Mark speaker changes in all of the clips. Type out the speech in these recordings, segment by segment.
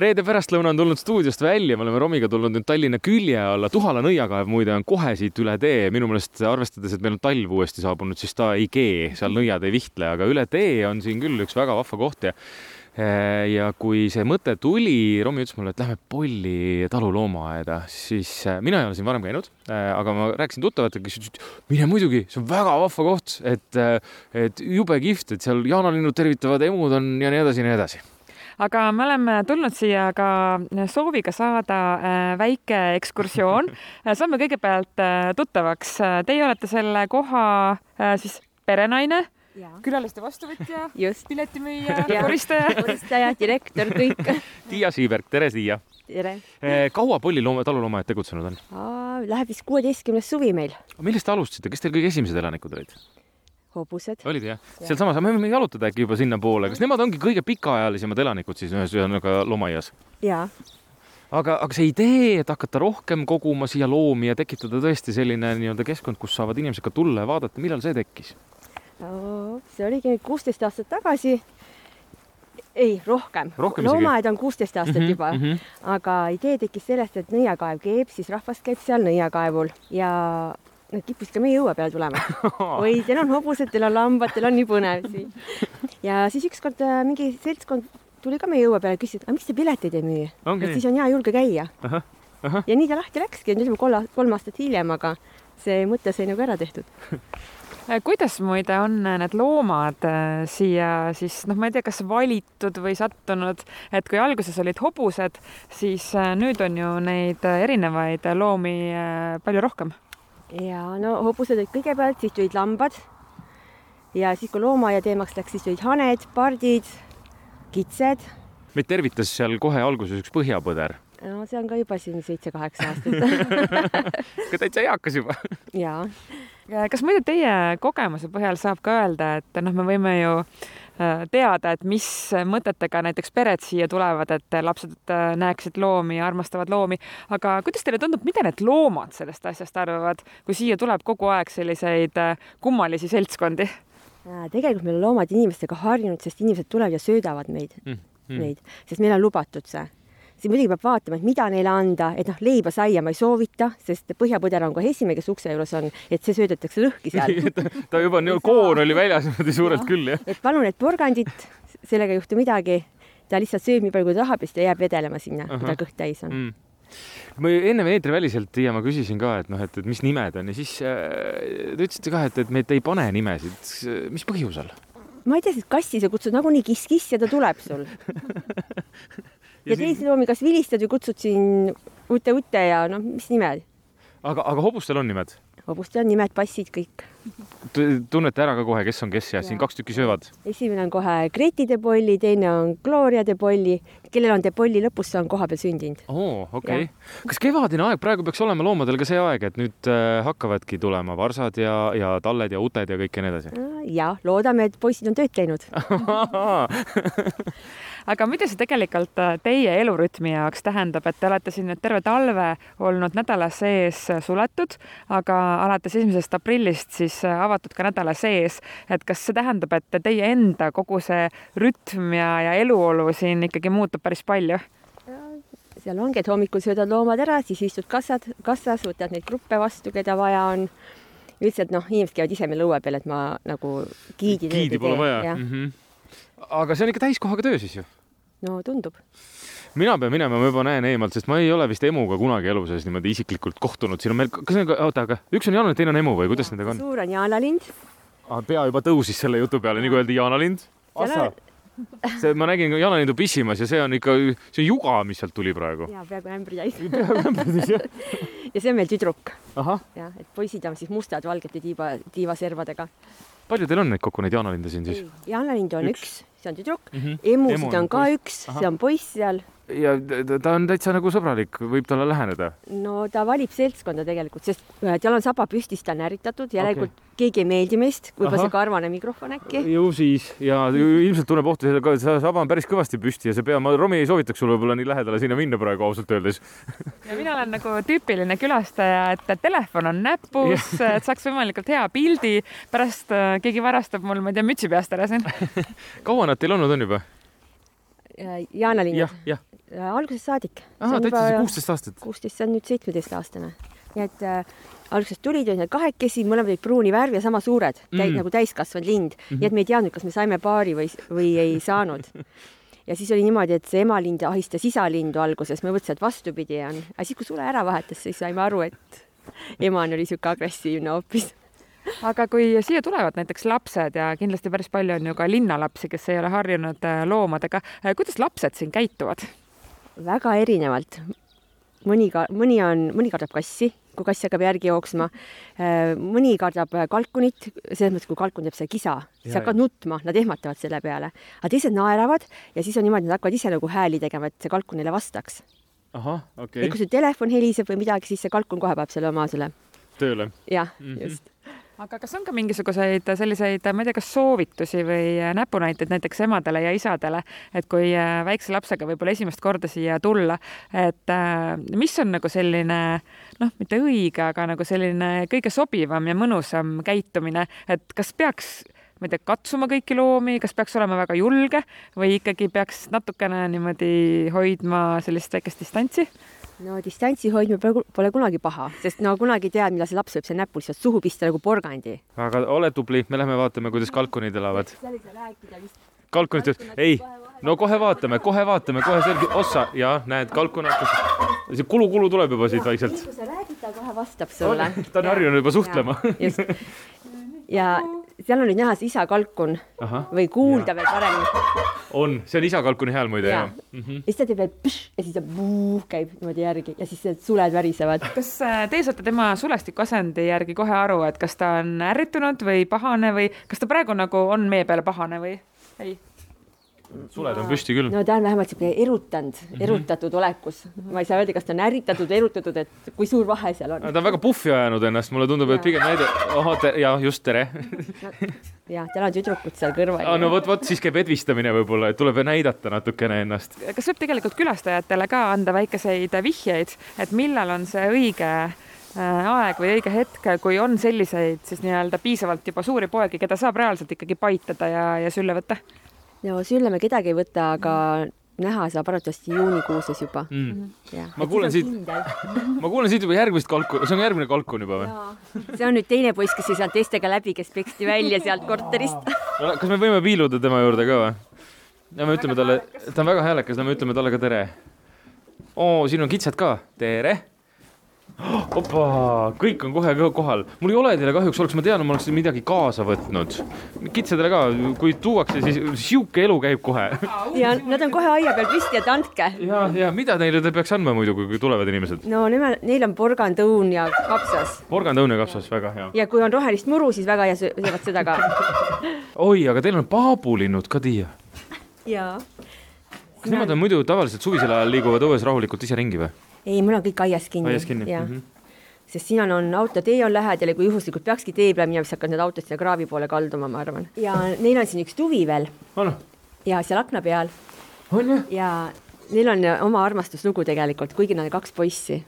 Speaker 1: reede pärastlõuna on tulnud stuudiost välja, me oleme Romiga tulnud nüüd Tallinna külje alla, Tuhala nõiakaev muide on kohe siit üle tee, minu meelest arvestades, et meil on talv uuesti saabunud, siis ta ei kee, seal nõiad ei vihtle, aga üle tee on siin küll üks väga vahva koht ja eh, ja kui see mõte tuli, Romi ütles mulle, et lähme Polli taluloomaaeda, siis eh, mina ei ole siin varem käinud, eh, aga ma rääkisin tuttavatega, kes ütlesid, mine muidugi, see on väga vahva koht, et, eh, et jube kihvt, et seal jaanalinnud tervitavad emud on ja nii edasi ja nii edasi
Speaker 2: aga me oleme tulnud siia ka sooviga saada äh, väike ekskursioon. Äh, saame kõigepealt äh, tuttavaks. Teie olete selle koha äh, siis perenaine, külaliste vastuvõtja, piletimüüja, koristaja.
Speaker 3: koristaja, direktor, kõik.
Speaker 1: Tiia Siiberg, tere Tiia.
Speaker 3: tere.
Speaker 1: Eh, kaua Polli looma, taluloomaaed tegutsenud on?
Speaker 3: Läheb vist kuueteistkümnes suvi meil.
Speaker 1: millest te alustasite, kes teil kõige esimesed elanikud olid?
Speaker 3: hobused.
Speaker 1: olid jah ja.? sealsamas, me võime jalutada äkki juba sinnapoole, kas nemad ongi kõige pikaajalisemad elanikud siis ühes ühesõnaga loomaaias?
Speaker 3: jaa.
Speaker 1: aga, aga see idee, et hakata rohkem koguma siia loomi ja tekitada tõesti selline nii-öelda keskkond, kus saavad inimesed ka tulla ja vaadata, millal see tekkis?
Speaker 3: see oligi kuusteist aastat tagasi. ei, rohkem,
Speaker 1: Rohkem
Speaker 3: rohkem.
Speaker 1: isegi?
Speaker 3: loomaaed on kuusteist aastat mm -hmm, juba mm,
Speaker 1: -hmm.
Speaker 3: -hmm. aga idee tekkis sellest, et nõiakaev keeb, siis rahvas käib seal nõiakaevul ja nad kippusid ka meie õue peale tulema
Speaker 1: Ah.
Speaker 3: oi , teil on hobused , teil on lambad , teil on nii põnev siin . ja siis ükskord äh, mingi seltskond tuli ka meie õue peale , küsis , et aga miks te pileteid ei müü ,
Speaker 1: Ongi
Speaker 3: et
Speaker 1: nii.
Speaker 3: siis on hea julge käia .
Speaker 1: Ahah, ahah.
Speaker 3: ja nii ta lahti läkski , nüüd on kolm , kolm aastat hiljem , aga see mõte sai nagu ära tehtud .
Speaker 2: Äh, kuidas muide on need loomad äh, siia siis noh , ma ei tea , kas valitud või sattunud , et kui alguses olid hobused , siis äh, nüüd on ju neid äh, erinevaid loomi äh, palju rohkem .
Speaker 3: ja no hobused olid kõigepealt , siis tulid lambad . ja siis , kui loomaaia teemaks läks , siis tulid haned , pardid , kitsed .
Speaker 1: meid tervitas seal kohe alguses üks põhjapõder ,
Speaker 3: no see on ka juba siin seitse-kaheksa aastat
Speaker 1: ka täitsa eakas juba .
Speaker 3: ja
Speaker 2: Äh, kas muide teie kogemuse põhjal saab ka öelda , et noh , me võime ju äh, teada , et mis mõtetega näiteks pered siia tulevad , et lapsed äh, näeksid loomi ja armastavad loomi , aga kuidas teile tundub , mida need loomad sellest asjast arvavad , kui siia tuleb kogu aeg selliseid äh, kummalisi seltskondi ?
Speaker 3: Äh, tegelikult meil on loomad inimestega harjunud , sest inimesed tulevad ja söödavad meid mm ,
Speaker 1: mm.
Speaker 3: -hmm. neid , sest meil on lubatud see . siis muidugi peab vaatama , et mida neile anda , et noh , leiba saia ma ei soovita , sest põhjapõder on kohe esimene , kes ukse juures on , et see söödetakse lõhki seal .
Speaker 1: ta juba nii koor oli väljas niimoodi suurelt
Speaker 3: Jah.
Speaker 1: küll jah .
Speaker 3: et palun , et porgandit , sellega ei juhtu midagi . ta lihtsalt sööb nii palju , kui tahab ja siis ta jääb vedelema sinna uh , -huh. kui
Speaker 1: Ahah.
Speaker 3: ta kõht täis on mm. .
Speaker 1: mm. . ma ju ennem eetriväliselt , Tiia , ma küsisin ka , et noh , et , et mis nimed on ja siis äh, te ütlesite ka , et , et me te ei pane nimesid . mis põhjusel ?
Speaker 3: ma ei tea , sest kassi sa kutsud nagunii kiss-kiss ja ta tuleb sul . ja teisi loomi kas vilistad või kutsud siin ute-ute ja noh , mis nimed ,
Speaker 1: aga , aga hobustel on nimed ?
Speaker 3: hobustel on nimed , passid kõik
Speaker 1: tunnete ära ka kohe , kes on kes ja siin
Speaker 3: Jaa.
Speaker 1: kaks tükki söövad .
Speaker 3: esimene on kohe Greti de Polli , teine on Gloria de Polli , kellel on de Polli lõpus , see on kohapeal sündinud .
Speaker 1: oo , okei . kas kevadine aeg praegu peaks olema loomadel ka see aeg , et nüüd äh, hakkavadki tulema varsad ja , ja talled ja uted ja kõik ja nii edasi ?
Speaker 3: ja Ah, loodame , et poisid on tööd teinud .
Speaker 1: Ah.
Speaker 2: aga mida see tegelikult äh, teie elurütmi jaoks tähendab , et te olete siin nüüd terve talve olnud nädala sees äh, suletud , aga alates esimesest aprillist siis äh, avatud ka nädala sees , et kas see tähendab , et teie enda kogu see rütm ja , ja eluolu siin ikkagi muutub päris palju ?
Speaker 3: seal ongi , et hommikul söödad loomad ära , siis istud kassad , kassas , võtad neid gruppe vastu , keda vaja on . üldiselt noh , inimesed käivad ise meil õue peal , et ma nagu giidi .
Speaker 1: giidi pole vaja . Mhm. aga see on ikka täiskohaga töö siis ju ?
Speaker 3: no tundub .
Speaker 1: mina pean minema , ma juba näen eemalt , sest ma ei ole vist emuga kunagi elu sees niimoodi isiklikult kohtunud , siin on meil , kas need , oota , aga üks on Jaanel , teine on emu või kuidas nendega on ?
Speaker 3: suur on jaanalind .
Speaker 1: Ah, pea juba tõusis selle jutu peale , nii kui öeldi Jaanalind .
Speaker 3: Seal
Speaker 1: Assa
Speaker 3: on- ,
Speaker 1: see , ma nägin Jaanalindu pissimas ja see on ikka , see on juga , mis sealt tuli praegu .
Speaker 3: ja peaaegu ämbri täis .
Speaker 1: jah.
Speaker 3: ja see on meil tüdruk
Speaker 1: ahah ,
Speaker 3: jah , et poisid on siis mustad valgete tiiba , tiivaservadega .
Speaker 1: palju teil on neid kokku , neid Jaanalinde siin siis ?
Speaker 3: jaanalind on
Speaker 1: Üks.
Speaker 3: üks, üks , see on tüdruk
Speaker 1: Mhm. Emu
Speaker 3: emusid
Speaker 1: on
Speaker 3: on ka
Speaker 1: poiss.
Speaker 3: üks ,
Speaker 1: Ahah.
Speaker 3: see on poiss seal .
Speaker 1: ja ta- ta- ta on täitsa nagu sõbralik , võib talle läheneda .
Speaker 3: no ta valib seltskonda tegelikult , sest äh, tal on saba püstis , ta on ärritatud , järelikult okay. keegi ei meeldi meist , võib-olla
Speaker 1: Ahah.
Speaker 3: see karvane mikrofon äkki .
Speaker 1: ju siis ja ju- ilmselt tunneb ohtu , see saba on päris kõvasti püsti ja see pea , ma , Romi ei soovitaks sul võib-olla nii lähedale sinna minna praegu ausalt öeldes .
Speaker 2: ja mina olen nagu tüüpiline külastaja , et telefon on näpus , et saaks võimalikult hea pildi , pärast äh, keegi varastab mul , ma ei tea , mütsi peast ära siin .
Speaker 1: kaua nad teil olnud on juba ?
Speaker 3: Jaana linn
Speaker 1: jah , jah .
Speaker 3: Äh, algusest saadik .
Speaker 1: täitsa see kuusteist aastat .
Speaker 3: kuusteist , see on nüüd seitsmeteistaastane . nii et äh, alguses tulid olid nad kahekesi , mõlemad olid pruuni värvi ja sama suured mm. , täi,
Speaker 1: Mm.
Speaker 3: nagu täiskasvanud lind mm , -hmm. nii et me ei teadnud , kas me saime paari või , või ei saanud . ja siis oli niimoodi , et see emalind ahistas isalindu alguses , me mõtlesime , et vastupidi on , aga siis , kui sule ära vahetas , siis saime aru , et emane oli niisugune agressiivne hoopis .
Speaker 2: aga kui siia tulevad näiteks lapsed ja kindlasti päris palju on ju ka linnalapsi , kes ei ole harjunud äh, loomadega , kuidas lapsed siin käituvad ?
Speaker 3: väga erinevalt . mõni ka , mõni on , mõni kardab kassi , kui kass hakkab järgi jooksma . mõni kardab äh, kalkunit , selles mõttes , kui kalkun teeb seda kisa ,
Speaker 1: Jaa,
Speaker 3: sa hakkad nutma , nad ehmatavad selle peale , aga teised naeravad ja siis on niimoodi , nad hakkavad ise nagu hääli tegema , et see kalkun neile vastaks .
Speaker 1: ahah , okei
Speaker 3: et kui
Speaker 1: okay. ,
Speaker 3: su telefon heliseb või midagi , siis see kalkun kohe paneb selle oma selle ,
Speaker 1: tööle .
Speaker 3: jah mm ,
Speaker 1: Mhm.
Speaker 3: -hmm. just .
Speaker 2: aga kas on ka mingisuguseid selliseid , ma ei tea , kas soovitusi või näpunäiteid näiteks emadele ja isadele , et kui äh, väikse lapsega võib-olla esimest korda siia tulla , et äh, mis on nagu selline noh , mitte õige , aga nagu selline kõige sobivam ja mõnusam käitumine , et kas peaks ma ei tea , katsuma kõiki loomi , kas peaks olema väga julge või ikkagi peaks natukene niimoodi hoidma sellist väikest distantsi ?
Speaker 3: no distantsi hoidmine pole, pole kunagi paha , sest no kunagi ei tea , millal see laps võib selle näpu lihtsalt suhu pista nagu porgandi .
Speaker 1: aga ole tubli , me lähme vaatame , kuidas kalkunid elavad .
Speaker 3: seal ei saa rääkida vist .
Speaker 1: kalkunid ütlevad , ei , no kohe vaatame , kohe vaatame , kohe selge , ossa ja näed , kalkun hakkas . see kulu-kulu tuleb juba siit vaikselt .
Speaker 3: kui sa räägid , ta kohe vastab sulle
Speaker 1: ta on harjunud juba suhtlema .
Speaker 3: just . ja seal oli näha see isa kalkun
Speaker 1: ahah ,
Speaker 3: või kuulda veel paremini .
Speaker 1: on , see on isa kalkuni hääl muide Mhm,
Speaker 3: ja
Speaker 1: jah .
Speaker 3: siis ta teeb veel pšš ja siis ta vuu käib niimoodi järgi ja siis need suled värisevad .
Speaker 2: kas äh, teie saate tema sulestikuasendi järgi kohe aru , et kas ta on ärritunud või pahane või kas ta praegu nagu on meie peale pahane või ei ?
Speaker 1: suled on püsti küll .
Speaker 3: no ta on vähemalt siuke erutanud ,
Speaker 1: Mhm.
Speaker 3: erutatud olekus . ma ei saa öelda , kas ta on ärritatud , erutatud , et kui suur vahe seal on .
Speaker 1: ta on väga puhvi ajanud ennast , mulle tundub , et
Speaker 3: Jaa.
Speaker 1: pigem näide , ahah , ja just tere .
Speaker 3: jah , tal on tüdrukud seal kõrval
Speaker 1: no . vot , vot siis käib edvistamine võib-olla , et tuleb näidata natukene ennast .
Speaker 2: kas võib tegelikult külastajatele ka anda väikeseid vihjeid , et millal on see õige äh, aeg või õige hetk , kui on selliseid siis nii-öelda piisavalt juba suuri poegi , keda saab reaalselt ikkagi paitada ja , ja sülle võtta ?
Speaker 3: no sülle me kedagi ei võta , aga näha saab arvatavasti juunikuuses juba mm. .
Speaker 1: Ma kuulen siit- ma kuulen siit juba järgmist kalku , see on järgmine kalkun juba või ?
Speaker 3: see on nüüd teine poiss , kes ei saanud teistega läbi , kes peksti välja sealt korterist .
Speaker 1: no kas me võime piiluda tema juurde ka või ? ja me ütleme talle , ta on väga häälekas , no me ütleme talle ka tere . oo , siin on kitsed ka , tere . opa , kõik on kohe ka kohal , mul ei ole teile kahjuks , oleks ma teadnud , ma oleksin midagi kaasa võtnud . kitsedele ka , kui tuuakse , siis sihuke elu käib kohe .
Speaker 3: ja nad on kohe aia peal püsti , et andke .
Speaker 1: ja , ja mida neile te peaks andma muidu , kui tulevad inimesed ?
Speaker 3: no nemad , neil on porgandõun ja kapsas
Speaker 1: porgand õunekapsas , väga hea .
Speaker 3: ja kui on rohelist muru , siis väga hea , söövad seda ka .
Speaker 1: oi , aga teil on paabulinnud ka tiia .
Speaker 3: ja .
Speaker 1: kas nemad on muidu tavaliselt suvisel ajal liiguvad õues rahulikult ise ringi või ?
Speaker 3: ei , mul on kõik aias kinni .
Speaker 1: aias kinni ? Mhm.
Speaker 3: jah , sest siin on, on autotee on lähedal ja kui juhuslikult peakski tee peale minema , siis hakkavad need autod sinna kraavi poole kalduma , ma arvan . ja neil on siin üks tuvi veel
Speaker 1: on ,
Speaker 3: ja seal akna peal
Speaker 1: on jah ?
Speaker 3: ja neil on oma armastuslugu tegelikult , kuigi nad on kaks poissi .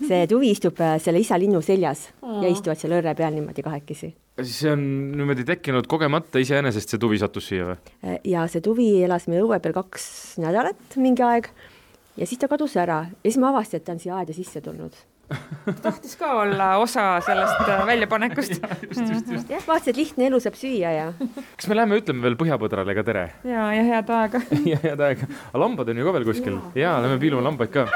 Speaker 3: see tuvi istub äh, selle isa linnu seljas ja istuvad seal õrre peal niimoodi kahekesi .
Speaker 1: siis see on niimoodi tekkinud kogemata iseenesest see tuvi sattus siia või ?
Speaker 3: Äh, ja see tuvi elas meie õue peal kaks nädalat mingi aeg ja siis ta kadus ära ja siis ma avastasin , et ta on siia aeda sisse tulnud .
Speaker 2: tahtis ka olla osa sellest äh, väljapanekust .
Speaker 3: jah , vaatasin , et lihtne elu saab süüa ja
Speaker 1: kas me lähme ütleme veel põhjapõdrale ka tere ?
Speaker 2: ja , ja head aega .
Speaker 1: ja head aega . aga lambad on ju ka veel kuskil ? jaa , lähme piilume lambaid ka .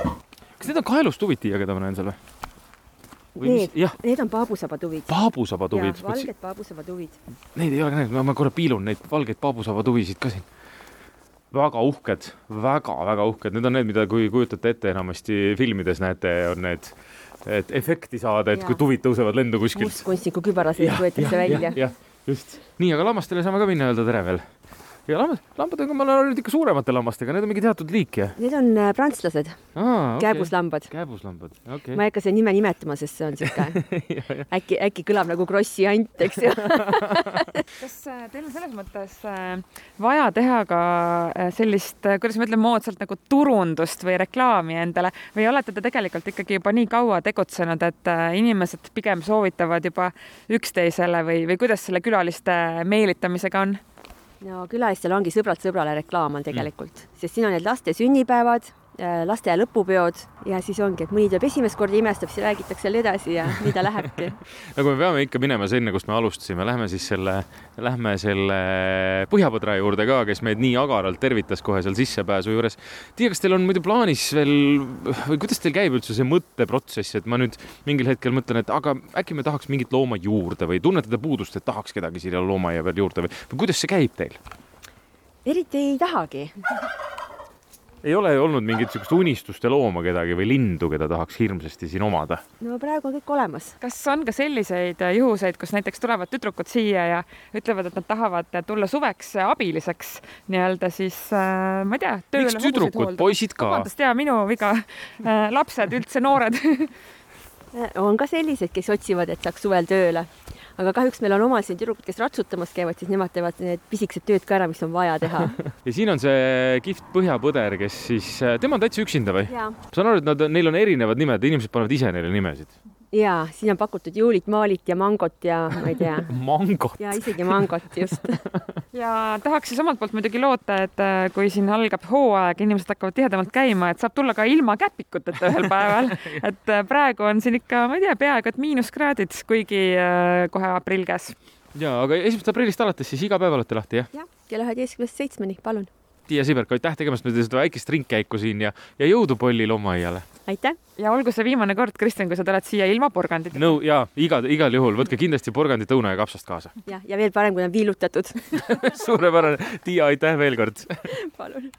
Speaker 1: kas need on kaelustubid , Tiia , keda ma näen seal või ? või mis
Speaker 3: need ,,
Speaker 1: jah ,
Speaker 3: need on paabusabatuvid .
Speaker 1: paabusabatuvid .
Speaker 3: valged paabusabatuvid .
Speaker 1: Neid ei ole ka näinud , ma korra piilun neid valgeid paabusabatuvisid ka siin . väga uhked väga, , väga-väga uhked , need on need , mida , kui kujutate ette enamasti filmides näete , on need , et efekti saada , et
Speaker 3: Jaa.
Speaker 1: kui tuvid tõusevad lendu kuskilt .
Speaker 3: kunstniku kübaraseid võetakse välja .
Speaker 1: jah , just . nii , aga lammastele saame ka minna öelda tere veel . ja lambad , lambadega ma olen harjunud ikka suuremate lammastega , need on mingi teatud liik ja
Speaker 3: Need on äh, prantslased ,
Speaker 1: ah,
Speaker 3: kääbuslambad .
Speaker 1: kääbuslambad , okei
Speaker 3: ma
Speaker 1: okay. .
Speaker 3: ei hakka seda nime nimetama , sest see on sihuke äkki , äkki kõlab nagu Krossi ant , eks ju .
Speaker 2: kas äh, teil on selles mõttes äh, vaja teha ka äh, sellist , kuidas ma ütlen , moodsalt nagu turundust või reklaami endale või olete te tegelikult ikkagi juba nii kaua tegutsenud , et äh, inimesed pigem soovitavad juba üksteisele või , või kuidas selle külaliste meelitamisega on ?
Speaker 3: no külalistel ongi sõbrad sõbrale reklaam on tegelikult mm. , sest siin on need laste sünnipäevad , laste lõpupeod ja siis ongi , et mõni tuleb esimest korda , imestab , siis räägitakse jälle edasi ja nii ta lähebki .
Speaker 1: no kui Nagu me peame ikka minema sinna , kust me alustasime , lähme siis selle , lähme selle Põhjapõdra juurde ka , kes meid nii agaralt tervitas kohe seal sissepääsu juures . Tiia , kas teil on muidu plaanis veel või kuidas teil käib üldse see mõtteprotsess , et ma nüüd mingil hetkel mõtlen , et aga äkki me tahaks mingit looma juurde või tunnetada puudust , et tahaks kedagi siia loomaaia peal juurde või, või kuidas see käib teil ?
Speaker 3: eriti ei tahagi .
Speaker 1: ei ole olnud mingit niisugust unistuste looma kedagi või lindu , keda tahaks hirmsasti siin omada ?
Speaker 3: no praegu on kõik olemas .
Speaker 2: kas on ka selliseid äh, juhuseid , kus näiteks tulevad tüdrukud siia ja ütlevad , et nad tahavad äh, tulla suveks äh, abiliseks nii-öelda siis äh, ma ei tea .
Speaker 1: miks tüdrukud , poisid ka ?
Speaker 2: vabandust , jaa , minu viga . lapsed üldse , noored .
Speaker 3: Äh, on ka selliseid , kes otsivad , et saaks suvel tööle , aga kahjuks meil on omal siin tüdrukud , kes ratsutamas käivad , siis nemad teevad need pisikesed tööd ka ära , mis on vaja teha .
Speaker 1: ja siin on see kihvt põhjapõder , kes siis , tema on täitsa üksinda või ?
Speaker 3: ja ,
Speaker 1: saan aru , et nad , neil on erinevad nimed , inimesed panevad ise neile nimesid .
Speaker 3: ja siin on pakutud juulit , maalit ja mangot ja ma ei tea
Speaker 1: mangot .
Speaker 3: ja isegi mangot just .
Speaker 2: ja tahaks siis omalt poolt muidugi loota , et äh, kui siin algab hooaeg , inimesed hakkavad tihedamalt käima , et saab tulla ka ilma käpikuteta ühel päeval . et äh, praegu on siin ikka , ma ei tea , peaaegu et miinuskraadid , kuigi äh, kohe aprill käes .
Speaker 1: ja , aga esimesest aprillist alates siis iga päev olete lahti , jah ?
Speaker 3: jah , kella üheteistkümnest seitsmeni , palun .
Speaker 1: Tiia Siberk , aitäh tegemast meile seda väikest ringkäiku siin ja , ja jõudu Polli loomaaiale .
Speaker 3: aitäh .
Speaker 2: ja olgu see viimane kord , Kristjan , kui sa tuled siia ilma porgandit .
Speaker 1: no ja iga , igal juhul võtke kindlasti porgandit , õuna ja kapsast kaasa .
Speaker 3: ja , ja veel parem , kui on viilutatud .
Speaker 1: suurepärane , Tiia , aitäh veel kord .
Speaker 3: palun .